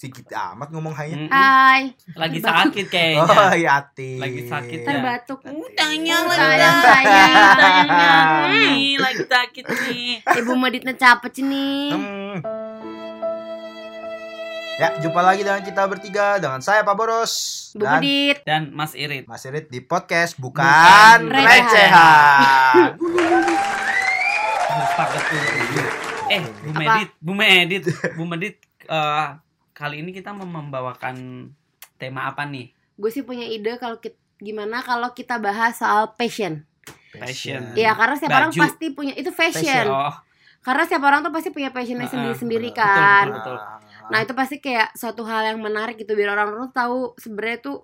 Sikit amat ngomong hanya. Mm-mm. Hai, Lagi Batuk. sakit Oh, kayaknya. yatim. iya. Lagi sakit ya. terbatuk. Hmm, Utangnya Sayang, lagi sayang. Tanya Hmm. Hmm. nih lagi sakit nih. Ibu meditnya capek nih. Hmm. Ya, jumpa lagi dengan kita bertiga dengan saya Pak Boros Bu dan Medit. Dan Mas Irit. Mas Irit di podcast bukan, Bukan Recehan. recehan. Sepakat dulu. Eh, Bu Apa? Medit, Bu Medit, Bu Medit. eh, kali ini kita mau membawakan tema apa nih? Gue sih punya ide kalau kit- gimana kalau kita bahas soal passion. Passion. Iya, karena setiap orang Hmm. Baju. pasti punya itu fashion. Oh, Karena setiap orang tuh pasti punya passionnya Heeh, sendiri-sendiri betul, kan. betul. Nah itu pasti kayak suatu hal yang menarik gitu biar orang-orang tuh tahu sebenarnya tuh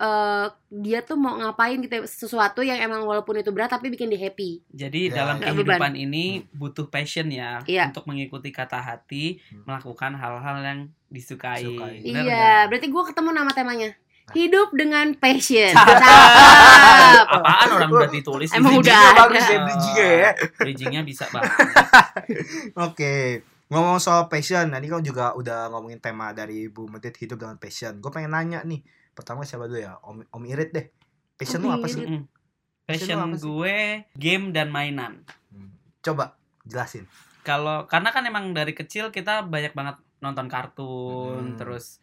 eh, dia tuh mau ngapain gitu ya, sesuatu yang emang walaupun itu berat tapi bikin dia happy. Ya, jadi dalam nggak kehidupan ini butuh passion ya Iya. untuk mengikuti kata hati, Hmm. melakukan hal-hal yang disukai. Disukai. Bener iya, nggak? berarti gua ketemu nama temanya Nah. hidup dengan passion. Cakep. Cakep. Apaan orang udah ditulis di Emang sini? udah Bridgingnya bagus ada. ya bridgingnya ya. Bridgingnya bisa banget. Oke, ngomong soal passion, tadi kan juga udah ngomongin tema dari Bu Medit hidup dengan passion. Gue pengen nanya nih, pertama siapa dulu ya, Om Om Irit deh. Passion lu Om apa sih? Mm. Passion Passion lu apa sih? gue game dan mainan. Hmm. Coba jelasin. Kalau karena kan emang dari kecil kita banyak banget nonton kartun, Hmm. terus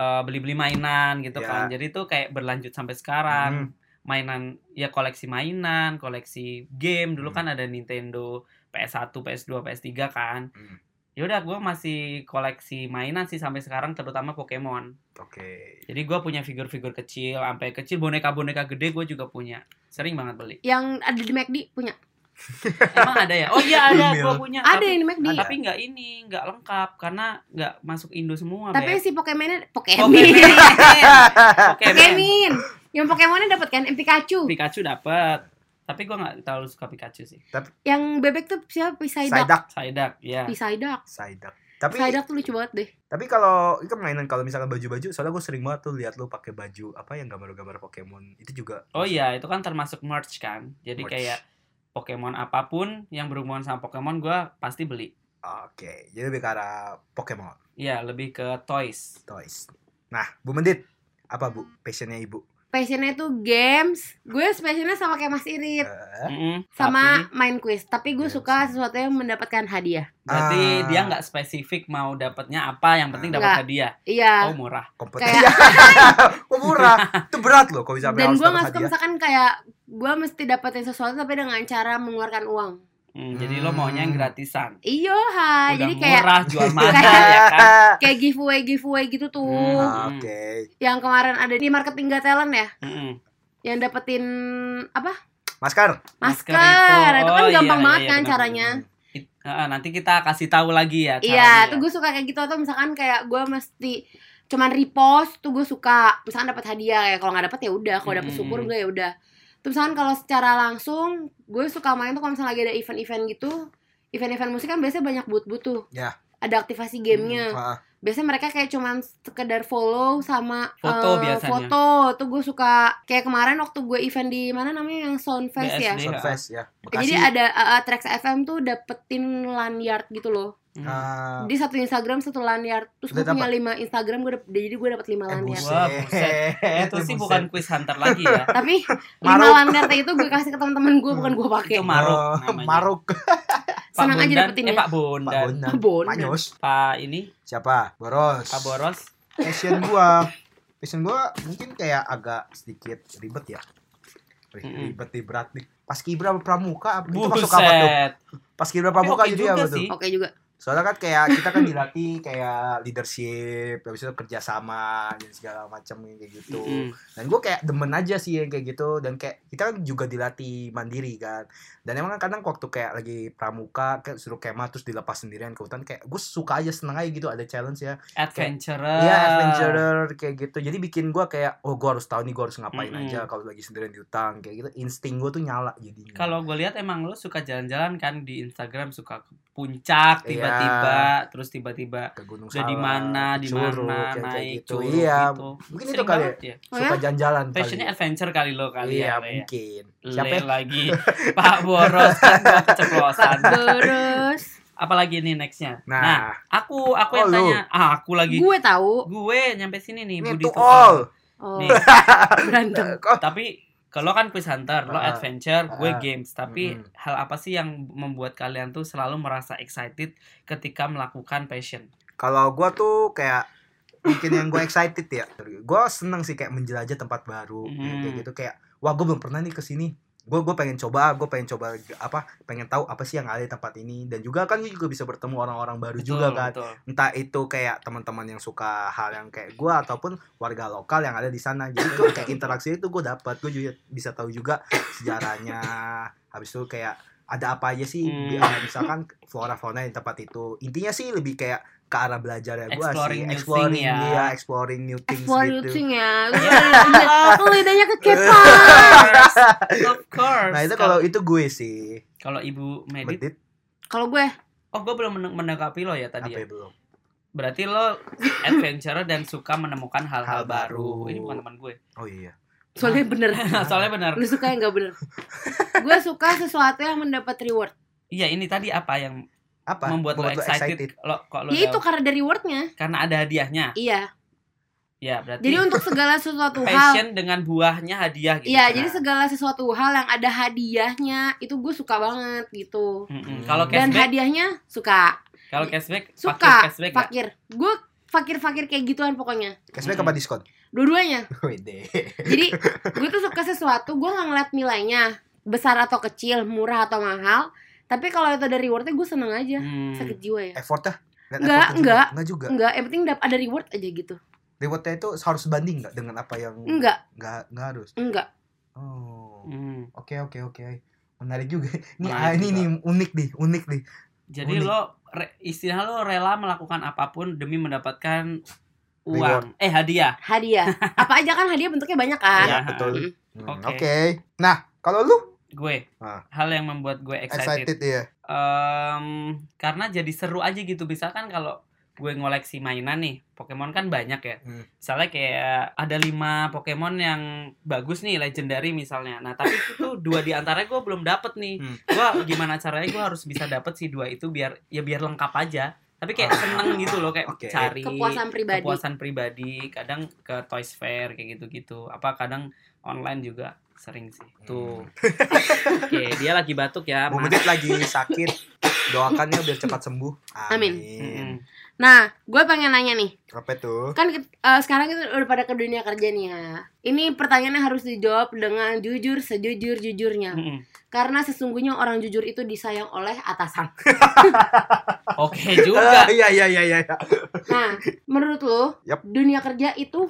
eh, beli-beli mainan gitu Ya. kan. Jadi itu kayak berlanjut sampai sekarang. Hmm. Mainan ya koleksi mainan, koleksi game. Dulu Hmm. kan ada Nintendo PS1, PS2, PS3 kan. Hmm. Ya udah gue masih koleksi mainan sih sampai sekarang terutama Pokemon. Oke. Jadi gue punya figur-figur kecil, sampai kecil boneka-boneka gede gue juga punya. Sering banget beli. yang ada di McD punya. Emang ada ya? Oh iya ada, gue punya. Ada tapi, yang di McD. Ada. Nah, tapi nggak ini, nggak lengkap karena nggak masuk Indo semua. ya? Tapi Beb. si Pokemonnya Pokemon. Pokemon. Pokemon. Pokemon. Yang Pokemonnya dapat kan yang Pikachu. Pikachu dapat. Tapi gue nggak terlalu suka Pikachu sih. Yang bebek tuh siapa? Psyduck. Saidak, Psyduck, ya. Hmm. Psyduck. Saidak. Tapi Psyduck tuh lucu banget deh. tapi kalau itu mainan kalau misalkan baju-baju, soalnya gue sering banget tuh lihat lu pakai baju apa yang gambar-gambar Pokemon itu juga. Oh iya, itu kan termasuk merch kan. Jadi Merch. kayak Pokemon apapun yang berhubungan sama Pokemon gue pasti beli. Oke, jadi lebih ke arah Pokemon Iya, lebih ke toys. toys. Nah, Bu Medit, apa Bu passionnya ibu? Passionnya tuh games. Gue passionnya sama kayak Mas Eh, Irit. Mm-mm. sama Tapi, main quiz tapi gue Iya, suka sih. sesuatu yang mendapatkan hadiah berarti Ah. dia nggak spesifik mau dapatnya apa, yang penting Nggak. dapat hadiah. iya Oh murah. kompeten. kayak Kok murah? itu berat loh kalau misalkan dan harus gue dapat nggak suka hadiah. misalkan kayak gue mesti dapetin sesuatu tapi dengan cara mengeluarkan uang Hmm, Jadi lo maunya yang Hmm. gratisan. iyo ha Udah Iya, Nah, jadi kayak murah jual mahal Kayak- ya kan. kayak giveaway giveaway gitu tuh Hmm. Ah, Oke. yang kemarin ada di marketing gak talent ya Mm-mm. yang dapetin apa Masker. Masker masker, itu. itu. kan Oh, gampang iya, banget iya, kan benar. caranya It- eh, nanti kita kasih tahu lagi ya. iya caranya tuh ya. gue suka kayak gitu atau misalkan kayak gue mesti cuman repost tuh gue suka misalkan dapat hadiah kayak kalau nggak dapat ya udah kalau dapat Mm. syukur gue ya udah terus misalkan kalau secara langsung gue suka main tuh kalau misalnya lagi ada event-event gitu event-event musik kan biasanya banyak boot-boot tuh Ya. ada Hmm, aktivasi gamenya Ah, biasanya mereka kayak cuman sekedar follow sama Foto eh, biasanya. foto tuh gue suka kayak kemarin waktu gue event di mana namanya yang Soundfest ya BSD. Sunfest ya. jadi ada eh, Trax FM tuh dapetin lanyard gitu loh Hmm. Ah, di satu Instagram satu lanyard terus gue Udah punya lima Instagram gue dap- jadi gue dapat lima eh, lanyard Wah, buset. itu Eh, sih buset. bukan quiz hunter lagi ya. tapi lima Maruk. lanyard itu gue kasih ke teman-teman gue bukan gue pakai Itu maruk Oh, namanya. Maruk. Pak Senang aja Bondan, dapetinnya. eh, Pak Pak Bondan. Bondan. Bon. Manyos. Pak ini, Siapa? Boros. Pak Boros. Passion gua. Passion gua mungkin kayak agak sedikit ribet ya. Wih, Mm-mm. ribet nih berat nih. Pas kibra pramuka itu masuk apa tuh? Buset. Pas kibra Tapi pramuka oke jadi juga apa tuh? sih. oke juga Soalnya kan kayak kita kan dilatih kayak leadership, habis itu kerjasama dan segala macam kayak gitu. Hmm. Mm-mm. dan gue kayak demen aja sih yang kayak gitu dan kayak kita kan juga dilatih mandiri kan dan emang kan kadang waktu kayak lagi pramuka kayak suruh kemah terus dilepas sendirian ke hutan kayak gue suka aja seneng aja gitu ada challenge ya Adventurer. Iya adventurer kayak gitu jadi bikin gue kayak oh gue harus tahu nih gue harus ngapain Mm-mm. aja kalau lagi sendirian di hutan kayak gitu insting gue tuh nyala jadinya Kalau gue lihat emang lo suka jalan-jalan kan di Instagram suka ke Iya. puncak tiba-tiba, terus tiba-tiba ke gunung udah di Salak, mana, ke di Curug, mana kayak- kayak naik gitu turun iya gitu. mungkin itu Sering kali ya, banget ya. Oh suka jalan-jalan kali. Fashionnya adventure kali lo kali iya ya. Le. mungkin Le siapa ya? lagi Pak Boros kan gua keceplosan. terus apalagi nih nextnya nah, Nah, aku aku yang Oh, lu. tanya ah, aku lagi gue tahu gue nyampe sini nih ini Budi to Tuhan. all. Nah, oh, Nih. berantem Kok- tapi kalau kan quiz hunter lo Ah, adventure gue ah, games tapi mm-mm. hal apa sih yang membuat kalian tuh selalu merasa excited ketika melakukan passion Kalau gua tuh kayak mungkin yang gue excited ya. Gua seneng sih kayak menjelajah tempat baru Hmm. kayak gitu kayak wah gue belum pernah nih ke sini. Gue gue pengen coba, gue pengen coba apa? Pengen tahu apa sih yang ada di tempat ini dan juga kan gue juga bisa bertemu orang-orang baru juga Betul, kan. betul. Entah itu kayak teman-teman yang suka hal yang kayak gua ataupun warga lokal yang ada di sana. Jadi tuh kayak interaksi itu gue dapat. Gue juga bisa tahu juga sejarahnya. Habis itu kayak ada apa aja sih Hmm. eh, misalkan flora fauna di tempat itu. Intinya sih lebih kayak ke arah belajar ya gue Exploring sih. new Exploring thing ya. iya, exploring new things explore gitu. thing ya Lu lidahnya kekepan of course Nah itu kalau itu gue sih. kalau ibu medit Medit kalau gue oh gue belum men- menanggapi lo ya apa tadi ya ya belum? berarti lo adventurer dan suka menemukan hal-hal Hal baru. baru. ini bukan teman gue Oh iya. soalnya bener Nah. soalnya benar lu suka yang gak bener gue suka sesuatu yang mendapat reward iya ini tadi apa yang Apa? membuat, lo excited, lo kok lo ya itu dapat? karena dari rewardnya karena ada hadiahnya iya ya berarti jadi untuk segala sesuatu hal passion dengan buahnya hadiah gitu Iya, kan. jadi segala sesuatu hal yang ada hadiahnya itu gue suka banget gitu. Mm-mm. kalau Dan Dan cashback hadiahnya suka, kalau cashback Suka. fakir cashback nggak? fakir. Gue fakir-fakir kayak gituan pokoknya. Cashback Hmm. apa diskon? Dua-duanya. Wede. Jadi gue tuh suka sesuatu, gue nggak ngeliat nilainya besar atau kecil, murah atau mahal. Tapi kalau itu ada rewardnya gue seneng aja. Hmm. Sakit jiwa ya. Effortnya? ah. Lihat Enggak, effortnya juga? enggak. Enggak juga. Enggak, yang penting dap- ada reward aja gitu. Rewardnya itu harus sebanding nggak dengan apa yang Enggak, nggak nggak harus. enggak. Oh. Hmm. Oke oke oke. Menarik juga. Ini Menarik ah, ini juga. nih unik nih, unik nih. jadi Unik. lo re, istilah lo rela melakukan apapun demi mendapatkan uang Reward. eh hadiah Hadiah. Apa aja kan hadiah bentuknya banyak kan. Iya, Iya. betul. Mm. Hmm, Oke. Oke. Nah, kalau lu gue Ah. hal yang membuat gue excited excited ya. Em, karena jadi seru aja gitu misalkan kalau gue ngoleksi mainan nih Pokemon kan banyak ya Hmm. misalnya kayak ada lima Pokemon yang bagus nih legendary misalnya nah tapi itu tuh dua di antara gue belum dapet nih Hmm. gue gimana caranya gue harus bisa dapet si dua itu biar ya biar lengkap aja tapi kayak Ah. seneng gitu loh kayak Oke. cari Kepuasan pribadi. kepuasan pribadi kadang ke Toys Fair kayak gitu-gitu apa kadang online juga sering sih tuh oke dia lagi batuk ya Bu Mas. Medit Hmm. lagi sakit. Doakan ya biar cepat sembuh. Amin. Amin. Mm-mm. Nah, gue pengen nanya nih. Apa tuh? kan kit- eh, sekarang kita udah pada ke dunia kerja nih ya. Ini pertanyaannya harus dijawab dengan jujur sejujur Hmm. jujurnya. Mm-mm. Karena sesungguhnya orang jujur itu disayang oleh atasan. oke juga Ah, iya iya iya iya. iya. Nah, menurut lo Yap. dunia kerja itu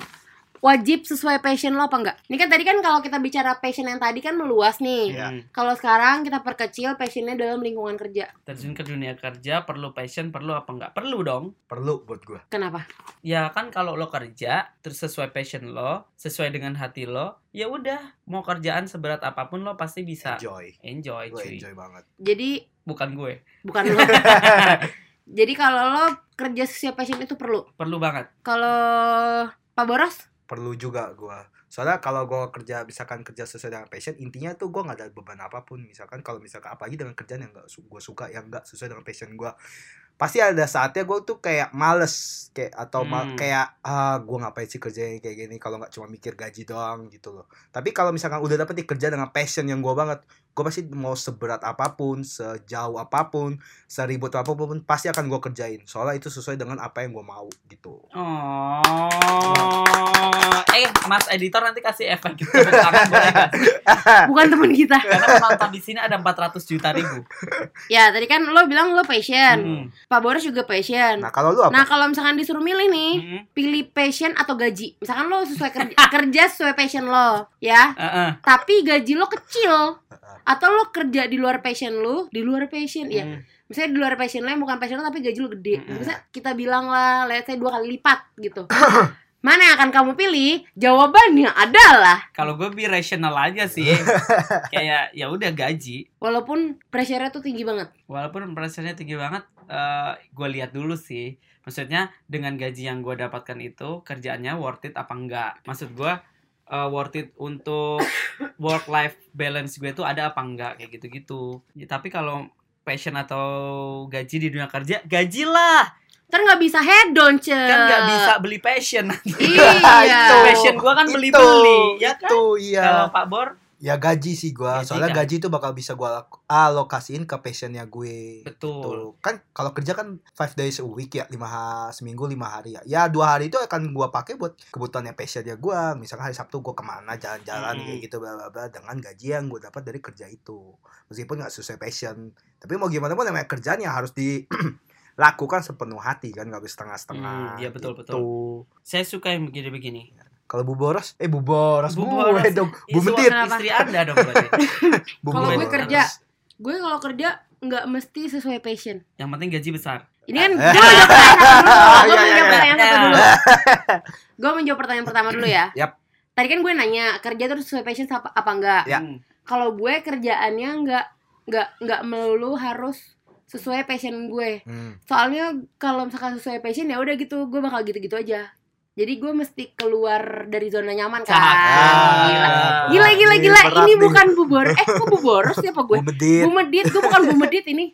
wajib sesuai passion lo apa enggak? Ini kan tadi kan kalau kita bicara passion yang tadi kan meluas nih. Iya. Mm. Kalau sekarang kita perkecil passionnya dalam lingkungan kerja. terjun ke dunia kerja perlu passion perlu apa enggak perlu dong Perlu buat gua. Kenapa? ya kan kalau lo kerja terus sesuai passion lo sesuai dengan hati lo ya udah mau kerjaan seberat apapun lo pasti bisa Enjoy. enjoy, Gua cuy enjoy banget. Jadi bukan gue bukan lo. Jadi kalau lo kerja sesuai passion itu perlu. perlu banget Kalau Pak Boros Perlu juga gua. Soalnya kalau gua kerja misalkan kerja sesuai dengan passion, intinya tuh gua nggak ada beban apapun. Misalkan kalau misalkan apalagi dengan kerjaan yang nggak su- gua suka yang nggak sesuai dengan passion gua. Pasti ada saatnya gua tuh kayak males kayak atau mal- Hmm. kayak ah gua ngapain sih kerjanya kayak gini kalau nggak cuma mikir gaji doang gitu loh. Tapi kalau misalkan udah dapet nih kerja dengan passion yang gua banget, gua pasti mau seberat apapun, sejauh apapun, seribut apapun pasti akan gua kerjain. Soalnya itu sesuai dengan apa yang gua mau gitu. oh eh mas editor nanti kasih efek gitu tepuk tangan boleh nggak? bukan teman kita. karena penonton di sini ada 400 juta ribu Ya tadi kan lo bilang lo passion Mm. Pak Boris juga passion Hmm. Nah, Nah, kalau lu apa? Hmm. kalau misalkan disuruh milih nih Mm-mm. Pilih passion atau gaji Misalkan lo sesuai kerja, kerja sesuai passion lo Ya Eh, eh. Tapi gaji lo Ah, kecil Atau lo kerja di luar passion lo Di luar passion ya Mm. Misalnya di luar passion lo yang bukan passion lo Tapi gaji lo gede Mm-mm. Misalnya kita bilang lah Let's say dua kali lipat gitu Mana yang akan kamu pilih? Jawabannya adalah kalau gue bi rasional aja sih kayak ya udah gaji Walaupun pressure-nya tuh tinggi banget walaupun pressure-nya tinggi banget eh gue lihat dulu sih maksudnya dengan gaji yang gue dapatkan itu kerjaannya worth it apa enggak maksud gue eh, worth it untuk work life balance gue tuh ada apa enggak kayak gitu gitu tapi kalau passion atau gaji di dunia kerja, gajilah. Ntar nggak bisa head down ce. Kan Eh, nggak bisa beli passion. Iya. Itu. passion gua kan beli-beli, ya kan? itu iya Kalau Pak Bor, ya gaji sih gua Gaji soalnya kan. gaji itu bakal bisa gua lak- alokasiin ke passionnya gue betul. Tuh. kan kalau kerja kan five days a week ya lima ha- seminggu lima hari ya ya dua hari itu akan gua pakai buat kebutuhan yang passionnya gua misalkan hari sabtu gua kemana jalan-jalan Hmm. kayak gitu bla bla bla dengan gaji yang gua dapat dari kerja itu meskipun nggak sesuai passion tapi mau gimana pun namanya kerjaan yang harus dilakukan sepenuh hati kan nggak bisa setengah-setengah Hmm, iya, betul, gitu. betul. Saya suka yang begini-begini. kalau bu boros eh bu boros Bu bu boros. dong bu Ih, suami mentit Kenapa? Istri Anda dong berarti. Bu Kalau gue boros. kerja. Gue kalau kerja nggak mesti sesuai passion. Yang penting gaji besar. Ini kan gue menjawab Iya, iya, iya. pertanyaan pertama dulu. Gue menjawab pertanyaan satu Nah. dulu. Gue menjawab pertanyaan pertama dulu ya. Yap. Tadi kan gue nanya kerja terus sesuai passion apa, apa enggak? Ya. Hmm. Kalau gue kerjaannya nggak nggak nggak melulu harus sesuai passion gue. Hmm. soalnya kalau misalkan sesuai passion ya udah gitu gue bakal gitu-gitu aja jadi gue mesti keluar dari zona nyaman kan Ah. Cakep. gila Ah, gila gila ini gila berat ini nih. bukan bubor eh kok bubor sih apa gue Bu medit. bumedit gue bukan bumedit ini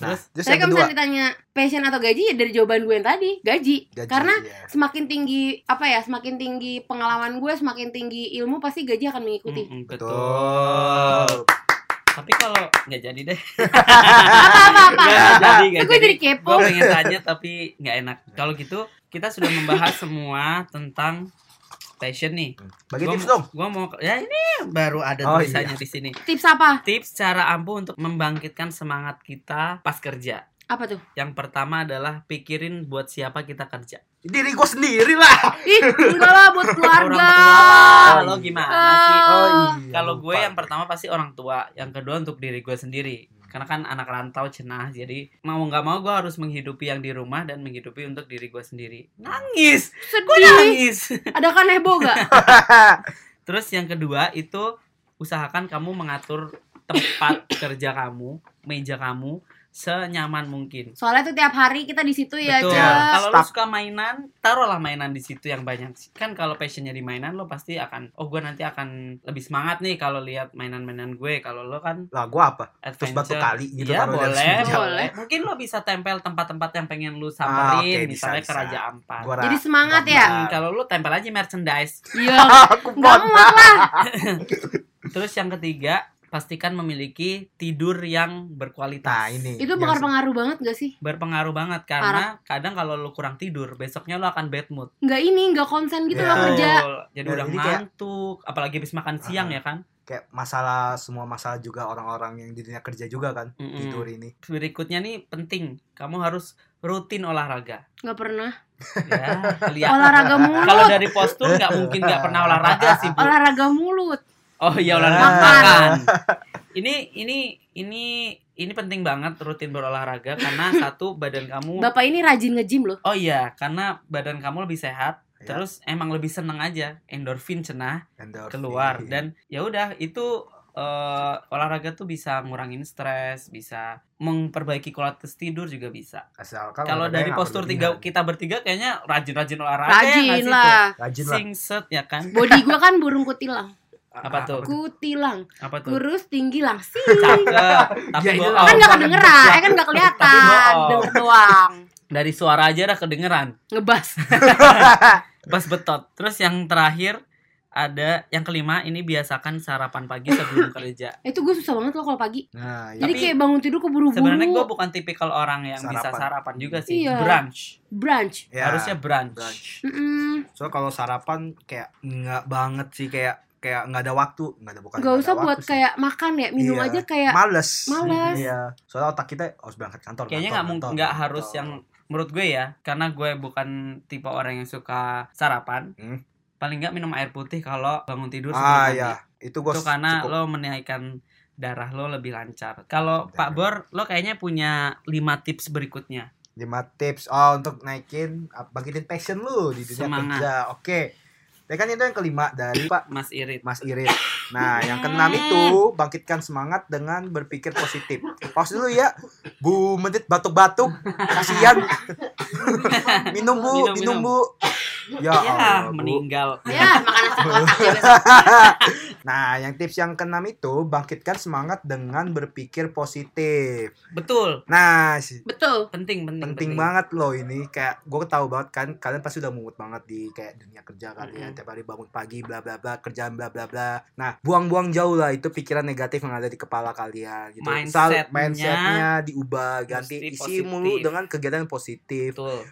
Nah, terus saya yang kedua, kan kalau misalnya ditanya passion atau gaji ya dari jawaban gue yang tadi gaji, gaji, karena iya. semakin tinggi apa ya semakin tinggi pengalaman gue semakin tinggi ilmu pasti gaji akan mengikuti Mm-mm, betul. betul. Tapi kalau nggak jadi deh. apa apa apa Nggak jadi, nggak gue jadi Gue kepo pengen tanya tapi nggak enak. Kalau gitu kita sudah membahas semua tentang passion nih. Bagi Gua tips mau- dong. Gua mau ya ini baru ada Oh, tulisannya di sini. tips apa Tips cara ampuh untuk membangkitkan semangat kita pas kerja. apa tuh Yang pertama adalah pikirin buat siapa kita kerja. Diri gua sendiri lah. ih enggak lah buat keluarga tua lo gimana sih? Ah. iya, Oh. Kalau gue lupa. yang pertama pasti orang tua, yang kedua untuk diri gue sendiri. Hmm. Karena kan anak rantau cenah, jadi mau nggak mau gue harus menghidupi yang di rumah dan menghidupi untuk diri gue sendiri. Nangis, gue sedih nangis. ada kan heboh gak Terus yang kedua itu usahakan kamu mengatur tempat kerja kamu, meja kamu senyaman mungkin. Soalnya tuh tiap hari kita di situ ya, Betul. Cak. Kalau lo Stop. suka mainan, taruhlah mainan di situ yang banyak. Kan kalau passionnya di mainan, lo pasti akan, oh gue nanti akan lebih semangat nih kalau lihat mainan-mainan gue. Kalau lo kan lah gua apa? Terus adventure. batu kali gitu Iya, taruh di atas boleh, meja. boleh. Mungkin lo bisa tempel tempat-tempat yang pengen lo Ah, samperin, oke, bisa, misalnya bisa. ke Raja Ampat. Gua ra- Jadi semangat ya? Hmm, kalau lo tempel aja merchandise. Iya. Aku Nggak buat. muat lah. Terus yang ketiga, pastikan memiliki tidur yang berkualitas. Nah, ini. Itu yang bakal Iya. se- pengaruh banget gak sih? Berpengaruh banget karena kadang kalau lo kurang tidur, besoknya lo akan bad mood. Nggak ini, nggak konsen gitu Iya. loh kerja. Betul. Jadi Dan udah ini kayak- ngantuk, apalagi habis makan siang ya kan. kayak masalah semua masalah juga orang-orang yang dirinya kerja juga kan. Mm-mm. Tidur ini. Berikutnya nih penting, kamu harus rutin olahraga. Nggak pernah. Ya, kelihatan. Olahraga mulut. Kalau dari postur nggak mungkin nggak pernah olahraga sih, Bu. Olahraga mulut. Oh iya olahraga Makan. makan. Ini ini ini ini penting banget rutin berolahraga karena satu badan kamu Bapak ini rajin nge-gym loh. Oh iya, karena badan kamu lebih sehat, Ya. terus emang lebih seneng aja, endorfin cenah. Endorfin. keluar Iya. dan ya udah itu eh, olahraga tuh bisa ngurangin stres, bisa memperbaiki kualitas tidur juga bisa. asalkan Kalau olahraganya dari nggak postur tiga berlebihan. kita bertiga kayaknya rajin-rajin olahraga ya nggak Rajin sih lah. tuh? rajin lah. Ah, Singset ya kan? Body gue kan burung kutilang. Apa tuh? Kutilang. Apa tuh? Kurus tinggi langsing. Cakep. Tapi Ya, itu bohong. Oh, Kan nggak banget. kedengeran. Eh kan nggak kelihatan. bohong. Denger doang. Dari suara aja udah kedengeran. Ngebas. Pas betot. Terus yang terakhir ada yang kelima ini biasakan sarapan pagi sebelum kerja. Itu gue susah banget loh kalau pagi. Nah, ya. Jadi Tapi- kayak bangun tidur keburu-buru. Sebenarnya gue bukan tipikal orang yang bisa Sarapan. sarapan juga sih. Iya. Brunch. Brunch. Ya, Harusnya brunch. brunch. Mm-mm. Soalnya kalau sarapan kayak nggak banget sih kayak kayak nggak ada waktu, nggak ada bukan. Gak nggak ada usah buat waktu sih. kayak makan ya, minum Iya. aja kayak males. Males. Iya. Soalnya otak kita harus berangkat kantor. kayaknya kantor, nggak mungkin kantor, nggak kantor. harus yang Ah, menurut gue ya karena gue bukan tipe orang yang suka sarapan Hmm. paling nggak minum air putih kalau bangun tidur sebelum Ah mandi. ya, itu gue itu karena lo menaikkan darah lo lebih lancar kalau Benar. Pak Bor lo kayaknya punya lima tips berikutnya lima tips oh untuk naikin ap- bangkitin passion lu di dunia Semangat. kerja. Oke. Ya kan itu yang kelima dari Pak Mas Irit Mas Irit. Nah, yang keenam itu bangkitkan semangat dengan berpikir positif. Pause dulu ya. Bu menit batuk-batuk. Kasihan. minum Bu, Minum, minum, Bu. Ya, ya Allah, Bu. meninggal ya makan asam kotak ya, besok. Nah, yang tips yang keenam itu bangkitkan semangat dengan berpikir positif. Betul. Nah, si- Betul. Penting, penting, penting banget loh ini kayak gue tahu banget kan kalian pasti udah mumet banget di kayak dunia kerja kali ya Mm-mm. tiap hari bangun pagi bla bla bla kerjaan bla bla bla nah buang-buang jauh lah itu pikiran negatif yang ada di kepala kalian gitu Sal- Mindsetnya- mindsetnya diubah ganti Mesti isi positif. mulu dengan kegiatan yang positif Betul.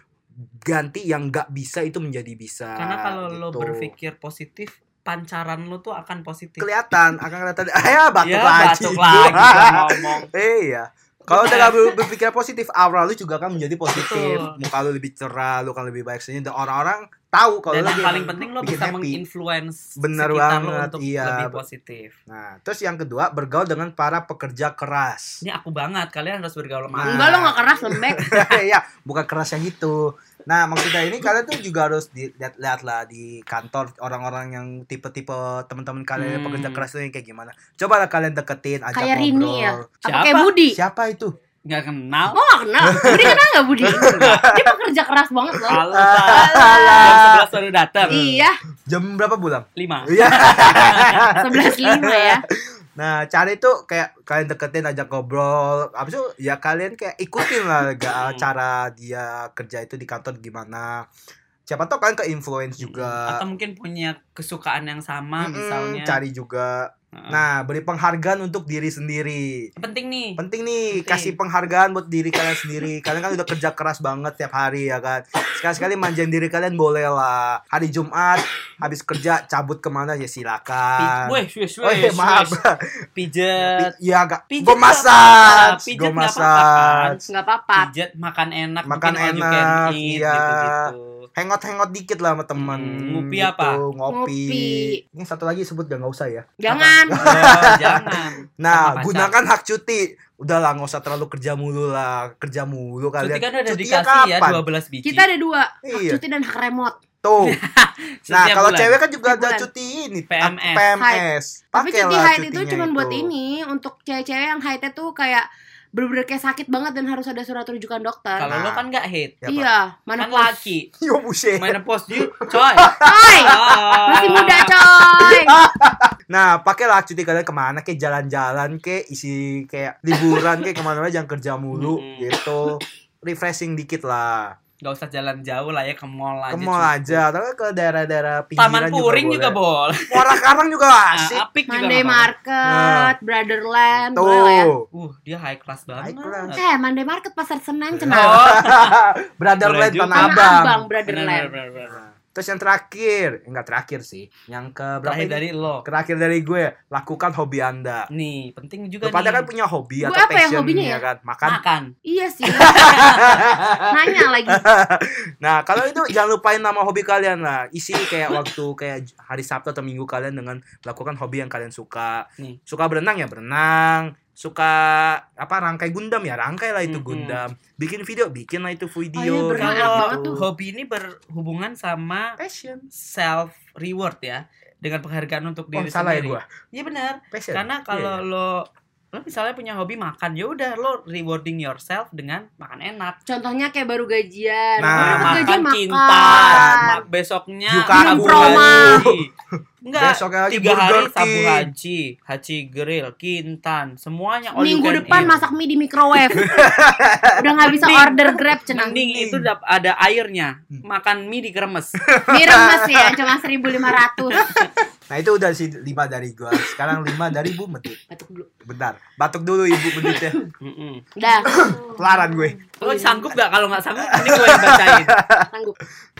ganti yang nggak bisa itu menjadi bisa Karena kalau lo gitu. berpikir positif, pancaran lo tuh akan positif. kelihatan akan kelihatan ah ya batuk ya, lagi batuk lagi gua ngomong. Iya. Kalau udah gak ber- berpikir positif, aura lu juga akan menjadi positif. Betul. Muka lu lebih cerah, lu akan lebih baik senyum. Dan orang-orang tahu kalau lu Dan yang lagi paling penting lo bikin bisa happy. menginfluence Bener sekitar lo banget, untuk iya. lebih positif. Nah, terus yang kedua, bergaul dengan para pekerja keras. Ini aku banget, kalian harus bergaul sama Nah. Enggak lo gak keras lembek. Iya, bukan keras yang itu. Nah, maksudnya ini kalian tuh juga harus dilihat-lihat lah di kantor orang-orang yang tipe-tipe teman-teman kalian yang Hmm. pekerja keras tuh yang kayak gimana. Coba lah kalian deketin, ajak Kayak ngobrol. Rini ya? Apa Siapa? kayak Budi? Siapa itu? nggak kenal. Lo gak kenal. Budi kenal gak Budi? Dia pekerja keras banget loh. Halo, Iya. Alah. jam sebelas baru datang. Iya, Ah, Jam berapa bulan? Lima. Iya. sebelas lima ya. Nah, cari tuh kayak kalian deketin ajak ngobrol. Habis itu ya kalian kayak ikutin lah ga- cara dia kerja itu di kantor gimana. Siapa tahu kalian ke influence juga. Iya. Atau mungkin punya kesukaan yang sama, Mm-mm, misalnya. cari juga. Heeh. Nah, beri penghargaan untuk diri sendiri. penting nih. Penting nih Penting. kasih penghargaan buat diri kalian sendiri. Kalian kan udah kerja keras banget tiap hari ya kan. Sekali-sekali manjain diri kalian boleh lah. Hari Jumat habis kerja cabut kemana ya Pi- silakan. Weh, weh, Oh iya, weh, maaf. weh. Pijet. Iya agak. Pijat Gue nggak masak. apa-apa, pijat Gue nggak apa-apa, masak. kan? Gak apa-apa. Pijat, makan enak, Makan mungkin all you can enak, eat, iya. gitu-gitu. Hangout-hangout dikit lah sama temen Gitu, Hmm, ngopi apa? Ngopi. Ngopi. Ini satu lagi sebut gak nggak usah ya. Jangan. Oh, jangan. Nah, pacar. gunakan hak cuti. Udah lah, nggak usah terlalu kerja mulu lah. Kerja mulu kalian. Cuti kan udah Cutinya dikasih ya kapan? 12 biji. Kita ada dua. Hak Iya. cuti dan hak remote. Tuh. nah, Setiap kalau bulan. cewek kan juga Setiap ada bulan. cuti ini. PMS. PMS. Tapi cuti Pakailah haid itu cutinya cuma buat itu. ini untuk cewek-cewek yang haidnya tuh kayak bener-bener kayak sakit banget dan harus ada surat rujukan dokter. Kalau lo kan gak hate. Ya, Pak. Iya, Kan mana laki. Yo buset. Menopause di coy. Coy, Ah. masih muda coy. Ah, Nah, pakailah hak cuti kalian kemana ke jalan-jalan ke isi kayak liburan ke kemana-mana jangan kerja mulu Mm-mm. gitu. Refreshing dikit lah. Gak usah jalan jauh lah ya ke mall aja. ke mall cukup. aja atau ke daerah-daerah pinggiran Taman Puring juga Ah, boleh. boleh. Muara Karang juga asik. Apik juga. Monday nggak apa-apa. Market, Brotherland, boleh lah ya. Ah. Tuh. Uh, dia high class banget. High class. Eh, Monday Market Pasar Iya. Senen kenapa? Oh, Brother Boleh Land juga. Tanah Tanah Abang. Abang, benar Brotherland. benar benar. Terus yang terakhir, enggak terakhir sih, yang ke berapa Terakhir ini? dari lo. Terakhir dari gue, lakukan hobi Anda. Nih, penting Lu juga pada nih. kan punya hobi Gue atau apa ya passion hobinya ya? kan, makan. makan. Iya sih. Nanya lagi. Nah, kalau itu jangan lupain nama hobi kalian lah. Isi kayak waktu kayak j- hari Sabtu atau Minggu kalian dengan lakukan hobi yang kalian suka. Nih. Suka berenang ya berenang, suka apa rangkai Gundam ya rangkai lah itu Mm-mm. Gundam. Bikin video, bikin lah itu video. Oh iya, berenang kayak enak banget tuh. Hobi ini berhubungan sama Passion. self reward ya, dengan penghargaan untuk Oh, diri salah ya sendiri. gua. Iya benar. Passion. Karena kalau Iya, iya. lo lo misalnya punya hobi makan, ya udah lo rewarding yourself dengan makan enak. Contohnya kayak baru gajian. Nah, Orang baru gajian makan makan. kintan, mak- besoknya Yukaku. sabu Promo. haji. Enggak, Besoknya lagi tiga Burger hari sabu King. haji, haji grill, kintan, semuanya Oh, all you Minggu can depan gitu. eat. masak mie di microwave. Udah nggak bisa Mending. order Grab cenah. Mending itu dap- ada airnya, Hmm. makan mie dikremes. Mie remes ya, cuma 1500. Nah, itu udah sih 5 dari gua. Sekarang 5 dari Bu Medit. Batuk dulu. Bentar, batuk dulu Ibu Medit ya. Mm-mm. Dah, Pelaran gue. Lo sanggup gak? Kalau nggak sanggup, ini gue yang bacain. sanggup.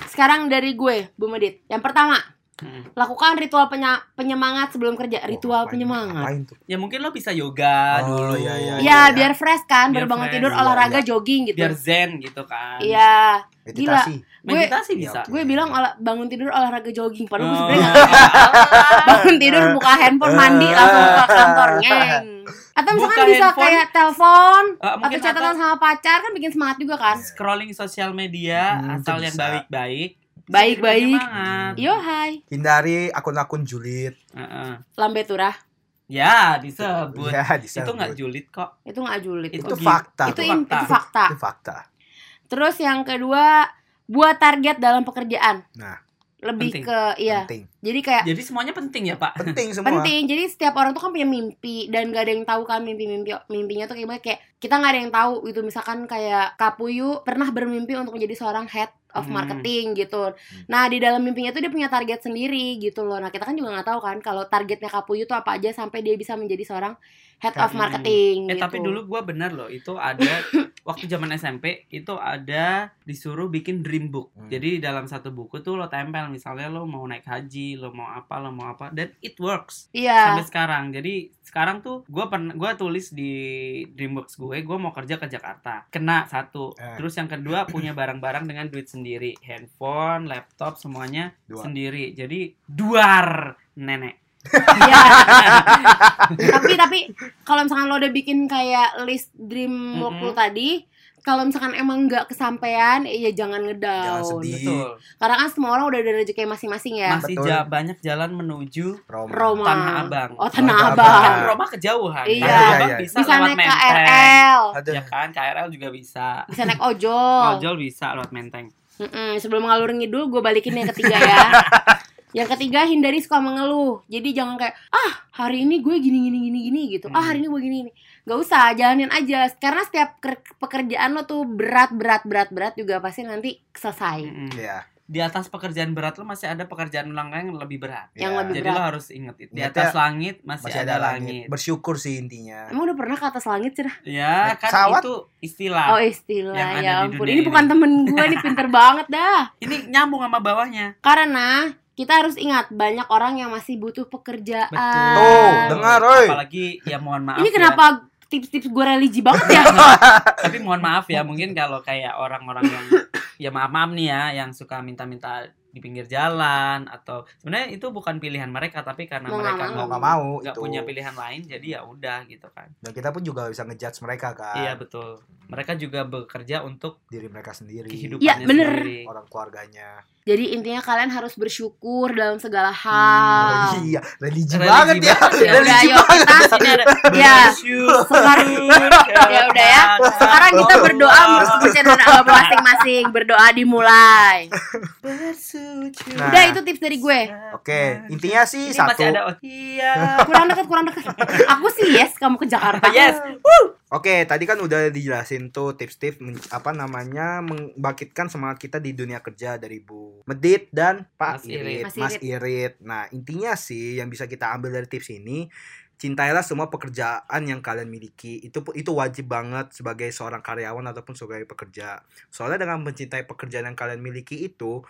Sekarang dari gue, Bu Medit. Yang pertama, Mm. lakukan ritual penya- penyemangat sebelum kerja. Oh, Ritual ngapain- penyemangat. ngapain tuh? Ya mungkin lo bisa yoga Oh, dulu. iya, iya, iya. Ya, biar fresh kan, Biar baru bangun fresh, tidur, iya, olahraga, iya. jogging gitu. Biar zen gitu kan. Iya, Gila. Meditasi. gue Meditasi Iya, bisa. oke. gue bilang olah, bangun tidur olahraga jogging padahal gue sebenarnya Oh. nggak bangun tidur buka handphone mandi langsung ke kantor ngeng atau misalkan Eh. Buka bisa handphone. kayak telepon Eh, atau mungkin catatan sama pacar kan bikin semangat juga kan scrolling sosial media Hmm, asal itu yang bisa. baik-baik. Baik-baik. Iya. Semangat. yo hai Hindari akun-akun julid. Heeh. lambe turah Ya, disebut. Ya, disebut. Itu nggak julid kok. itu nggak julid Itu gi- fakta. Gitu. itu iya. Itu, in- fakta. itu fakta fakta. terus yang kedua buat target dalam pekerjaan Nah. lebih Penting. ke iya penting jadi kayak Jadi semuanya penting ya, Pak? penting semua penting jadi setiap orang tuh kan punya mimpi dan gak ada yang tahu kan mimpi-mimpi mimpinya tuh kayak gimana. kayak kita nggak ada yang tahu gitu misalkan kayak Kapuyu pernah bermimpi untuk menjadi seorang head of Hmm. marketing gitu Hmm. nah di dalam mimpinya tuh dia punya target sendiri gitu loh nah kita kan juga nggak tahu kan kalau targetnya Kapuyu tuh apa aja sampai dia bisa menjadi seorang head of Hmm. marketing Eh gitu. tapi dulu gua bener loh itu ada waktu zaman SMP itu ada disuruh bikin dream book. Hmm. Jadi dalam satu buku tuh lo tempel misalnya lo mau naik haji, lo mau apa, lo mau apa dan it works iya sampai sekarang. Jadi sekarang tuh gua pernah gua tulis di Dreamworks gue, gua mau kerja ke Jakarta. Kena satu. Eh. Terus yang kedua punya barang-barang dengan duit sendiri, handphone, laptop semuanya Dua. sendiri. Jadi duar nenek. iya tapi tapi kalau misalkan lo udah bikin kayak list dream work lo tadi kalau misalkan emang nggak kesampaian ya jangan ngedown Jangan sedih. Betul. Karena kan semua orang udah ada rezeki masing-masing ya. Iya, Masih Betul. ja- banyak jalan menuju Roma. Roma. Tanah Abang. Oh, Tanah Tanah Abang. Kan Roma kejauhan. Iya. Tanah Iya, Abang iya. bisa, Bisa lewat naik Menteng. KRL, Aduh. Ya kan, KRL juga bisa. bisa naik ojol. Ojol bisa lewat Menteng. Mm-mm, sebelum ngalur ngidul, gue balikin yang ketiga ya. yang ketiga hindari suka mengeluh. Jadi jangan kayak ah hari ini gue gini gini gini gini gitu. Ah Hmm. hari ini gue gini gini. Gak usah, jalanin aja. Karena setiap ker- pekerjaan lo tuh berat berat berat berat juga pasti nanti selesai. Mm-mm. ya Di atas pekerjaan berat lu masih ada pekerjaan ulang yang lebih berat. Yang ya. lebih Jadi berat. lo harus inget itu. Di Ingat atas ya, langit masih, ada, langit. bersyukur sih intinya Emang udah pernah ke atas langit cerah? Ya, kan Pesawat. itu istilah. Oh Ah, yang istilah ada ya di ampun. dunia Ini ini. bukan temen gue nih pinter banget dah. Ini nyambung sama bawahnya. Karena kita harus ingat banyak orang yang masih butuh pekerjaan. Betul. Oh, Tuh, dengar, oi. Apalagi ya mohon maaf. Ah. Ini ya. kenapa tips-tips gue religi banget ya? tapi mohon maaf ya mungkin kalau kayak orang-orang yang ya maaf maaf nih ya yang suka minta-minta di pinggir jalan atau sebenarnya itu bukan pilihan mereka tapi karena Mau nggak mereka mau mau. nggak mau gitu. nggak itu punya pilihan lain jadi ya udah gitu kan dan kita pun juga bisa ngejudge mereka kan iya betul mereka juga bekerja untuk diri mereka sendiri kehidupannya Iya, bener. sendiri orang keluarganya Jadi intinya kalian harus bersyukur dalam segala Oh, hal. iya religi, Religi banget ya banget ya. religi Udah, ayo, banget kita- Ini ada Iya. bersyukur Sekarang, Ya udah ya. kepada sekarang kita berdoa Allah. menurut kepercayaan agama masing-masing. Berdoa dimulai. bersujud Nah. Udah itu tips dari gue. oke Iya. intinya sih ini satu masih ada oh, iya Kurang dekat, kurang dekat. Aku sih yes, kamu ke Jakarta. Ah, yes Oke, tadi kan udah dijelasin tuh tips-tips men- apa namanya membangkitkan semangat kita di dunia kerja dari Bu Medit dan Pak Mas Irit, Irit. Mas Mas Irit. Nah, intinya sih yang bisa kita ambil dari tips ini, cintailah semua pekerjaan yang kalian miliki. Itu pu- itu wajib banget sebagai seorang karyawan ataupun sebagai pekerja. Soalnya dengan mencintai pekerjaan yang kalian miliki itu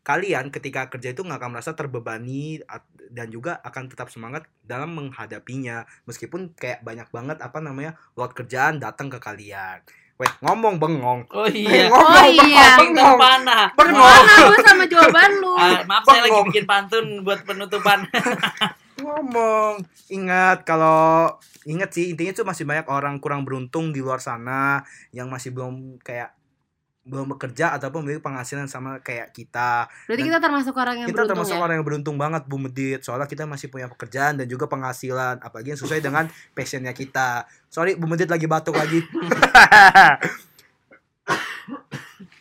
kalian ketika kerja itu nggak akan merasa terbebani at- dan juga akan tetap semangat dalam menghadapinya meskipun kayak banyak banget apa namanya load kerjaan datang ke kalian. Weh, ngomong bengong. oh Weh, iya ngomong Oh iya. Kuping terpanah. Bengong. Mana gue sama jawaban lu? Ah, maaf saya lagi Bengong. bikin pantun buat penutupan. Ngomong. Ingat kalau ingat sih intinya tuh masih banyak orang kurang beruntung di luar sana yang masih belum kayak belum bekerja ataupun memiliki penghasilan sama kayak kita. Berarti kita termasuk orang yang kita beruntung termasuk ya. orang yang beruntung banget Bu Medit soalnya kita masih punya pekerjaan dan juga penghasilan apalagi yang sesuai dengan passionnya kita sorry Bu Medit lagi batuk lagi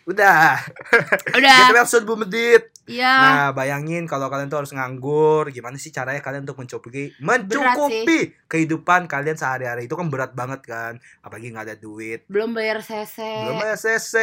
udah Udah. kita maksud Bu Medit Gitu Iya. kan? Nah, bayangin kalau kalian tuh harus nganggur, gimana sih caranya kalian untuk mencukupi mencukupi kehidupan kalian sehari-hari itu kan berat banget kan, apalagi nggak ada duit, Belum bayar CC. belum ada CC,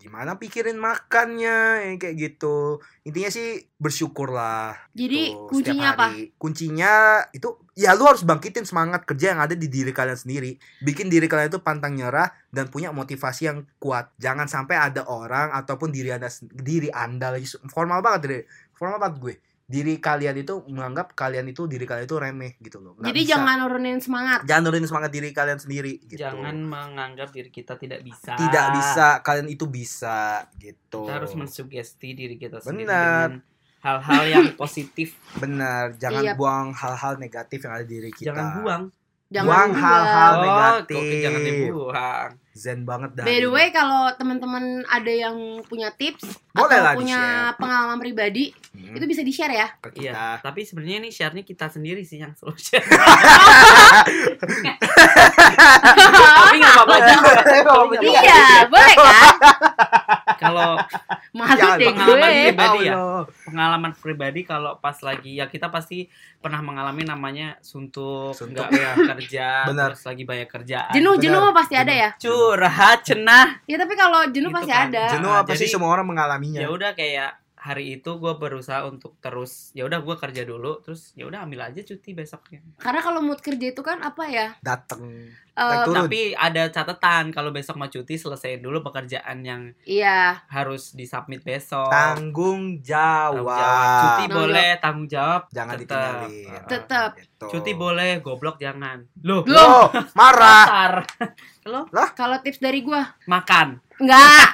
gimana pikirin makannya yang kayak gitu. Intinya sih bersyukurlah. Jadi tuh, setiap kuncinya apa? hari. Kuncinya itu ya lu harus bangkitin semangat kerja yang ada di diri kalian sendiri, bikin diri kalian itu pantang nyerah dan punya motivasi yang kuat. Jangan sampai ada orang ataupun diri anda diri anda lagi formal banget deh formal banget gue diri kalian itu menganggap kalian itu diri kalian itu remeh gitu loh Nggak Jadi bisa. jangan nurunin semangat. jangan nurunin semangat diri kalian sendiri gitu Jangan menganggap diri kita tidak bisa. tidak bisa kalian itu bisa gitu Kita harus mensugesti diri kita sendiri Benar. dengan hal-hal yang positif. benar jangan Iya. buang hal-hal negatif yang ada di diri kita Jangan buang. Jangan buang juga. hal-hal kok negatif jangan dibuang. zen banget dah By the way, kalau teman-teman ada yang punya tips Boleh atau lah punya di-share. pengalaman pribadi, Hmm, itu bisa di-share ya. ke Iya. kita Tapi sebenarnya ini share-nya kita sendiri sih yang selalu share. Tapi nggak apa-apa juga. Iya. iya, boleh kan? Kalau Malu Jangan deh pengalaman gue. pribadi ya. Allah. pengalaman pribadi kalau pas lagi ya kita pasti pernah mengalami namanya suntuk, Suntuk. nggak banyak kerja, Benar. terus lagi banyak kerjaan. jenuh jenuh Benar. mah pasti ada ya curhat cenah. ya tapi kalau jenuh Gitu pasti kan. ada jenuh Ah, apa sih jadi- semua orang mengalaminya Ya udah kayak hari itu gue berusaha untuk terus ya udah gue kerja dulu terus ya udah ambil aja cuti besoknya karena kalau mood kerja itu kan apa ya dateng eh, Turun. tapi ada catatan kalau besok mau cuti selesaiin dulu pekerjaan yang iya harus disubmit besok tanggung Tanggung jawab, jawab. cuti Tanggung boleh tanggung jawab jangan tetep. ditinggalin Heeh. Tetep. Gitu. cuti boleh goblok jangan loh Loh, Loh. marah kasar kalau tips dari gua makan enggak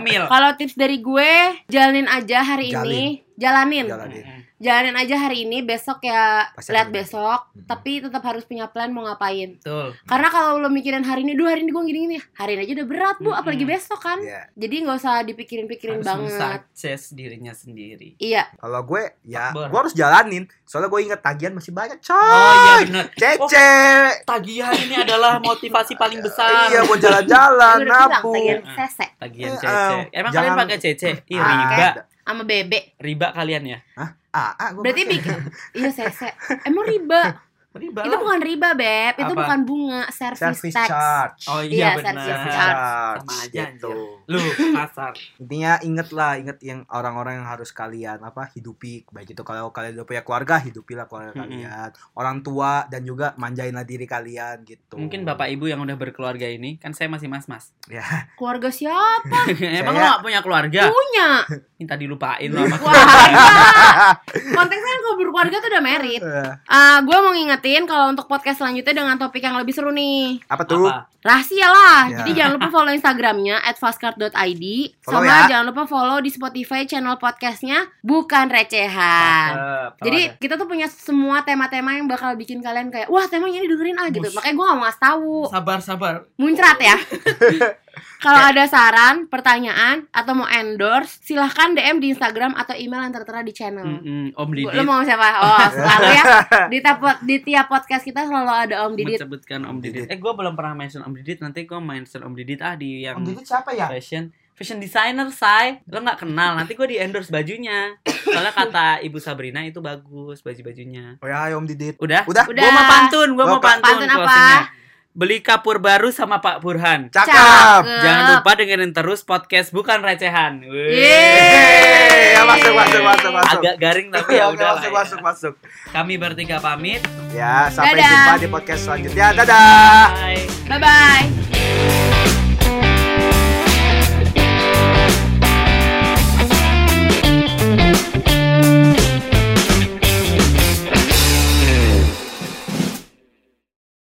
ngemil kalau tips dari gue jalanin aja hari ini jalanin jalanin jalanin aja hari ini besok ya Pasti lihat ada. Hmm. besok Mm-mm. tapi tetap harus punya plan mau ngapain betul karena kalau lo mikirin hari ini, duh hari ini gue gini gini, hari ini aja udah berat bu, Mm-mm. apalagi besok kan. Iya. Jadi nggak usah dipikirin-pikirin harus banget. mensukses dirinya sendiri Iya, kalau gue ya Akbar. gue harus jalanin soalnya gue inget tagihan masih banyak Ah. oh coy iya benar cece tagihan ini adalah motivasi paling besar iya buat jalan-jalan gue udah bilang pengen nabung Mm. sesek tagihan Eh, cece eh, jangan- emang kalian pakai cece Ih, Ah, riba ada. sama Oh, bebek. riba kalian ya ah, ah, gua Berarti pakai. bikin iya sesek. Emang riba? riba itu lah. bukan riba beb, itu Apa? bukan bunga, service, service tax. charge oh Iya, iya service benar service charge. charge Sama aja, gitu lu kasar intinya ingetlah inget yang orang-orang yang harus kalian apa hidupi baik itu kalau kalian udah punya keluarga hidupilah keluarga Mm-mm. kalian orang tua dan juga manjainlah diri kalian gitu mungkin bapak ibu yang udah berkeluarga ini kan saya masih mas mas ya Keluarga siapa emang lo Saya- gak punya keluarga punya? minta dilupain lo sama Ah, Wah, ya. iya. konteksnya kan kalau berkeluarga tuh udah merit. Eh, Ah, gue mau ngingetin kalau untuk podcast selanjutnya dengan topik yang lebih seru nih. apa tuh apa Rahasia lah. Ya. Jadi jangan lupa follow Instagramnya @fastcard.id Follow sama ya. jangan lupa follow di Spotify channel podcastnya Bukan Recehan. Cakep. Kalau Jadi ada- kita tuh punya semua tema-tema yang bakal bikin kalian kayak wah temanya ini dengerin ah gitu. Bus. Makanya gue gak mau ngasih tahu. sabar sabar Muncrat ya. Kalau ada saran, pertanyaan atau mau endorse, silahkan DM di Instagram atau email yang tertera di channel. Hmm, Mm-mm, om Bu, Didit Lo Hmm. mau siapa? Oh, selalu ya. Di tiap, di tiap podcast kita selalu ada Om Didit. menyebutkan Om Om Didit. Didit. Eh, gue belum pernah mention Om Didit. Nanti gue mention Om Didit ah di yang siapa ya fashion fashion designer say lo nggak kenal nanti gue di endorse bajunya soalnya kata ibu Sabrina itu bagus baju bajunya oh ya Om Didit udah udah Udah. gue mau pantun gue mau Oke. pantun, Pantun apa? closingnya. beli kapur baru sama Pak Burhan cakep jangan lupa dengerin terus podcast bukan recehan Wih. Yeay, Yeay. ya, masuk masuk masuk masuk agak garing tapi ya Oke, udah masuk masuk masuk kami bertiga pamit ya sampai Dadah. jumpa di podcast selanjutnya dadah bye Bye-bye.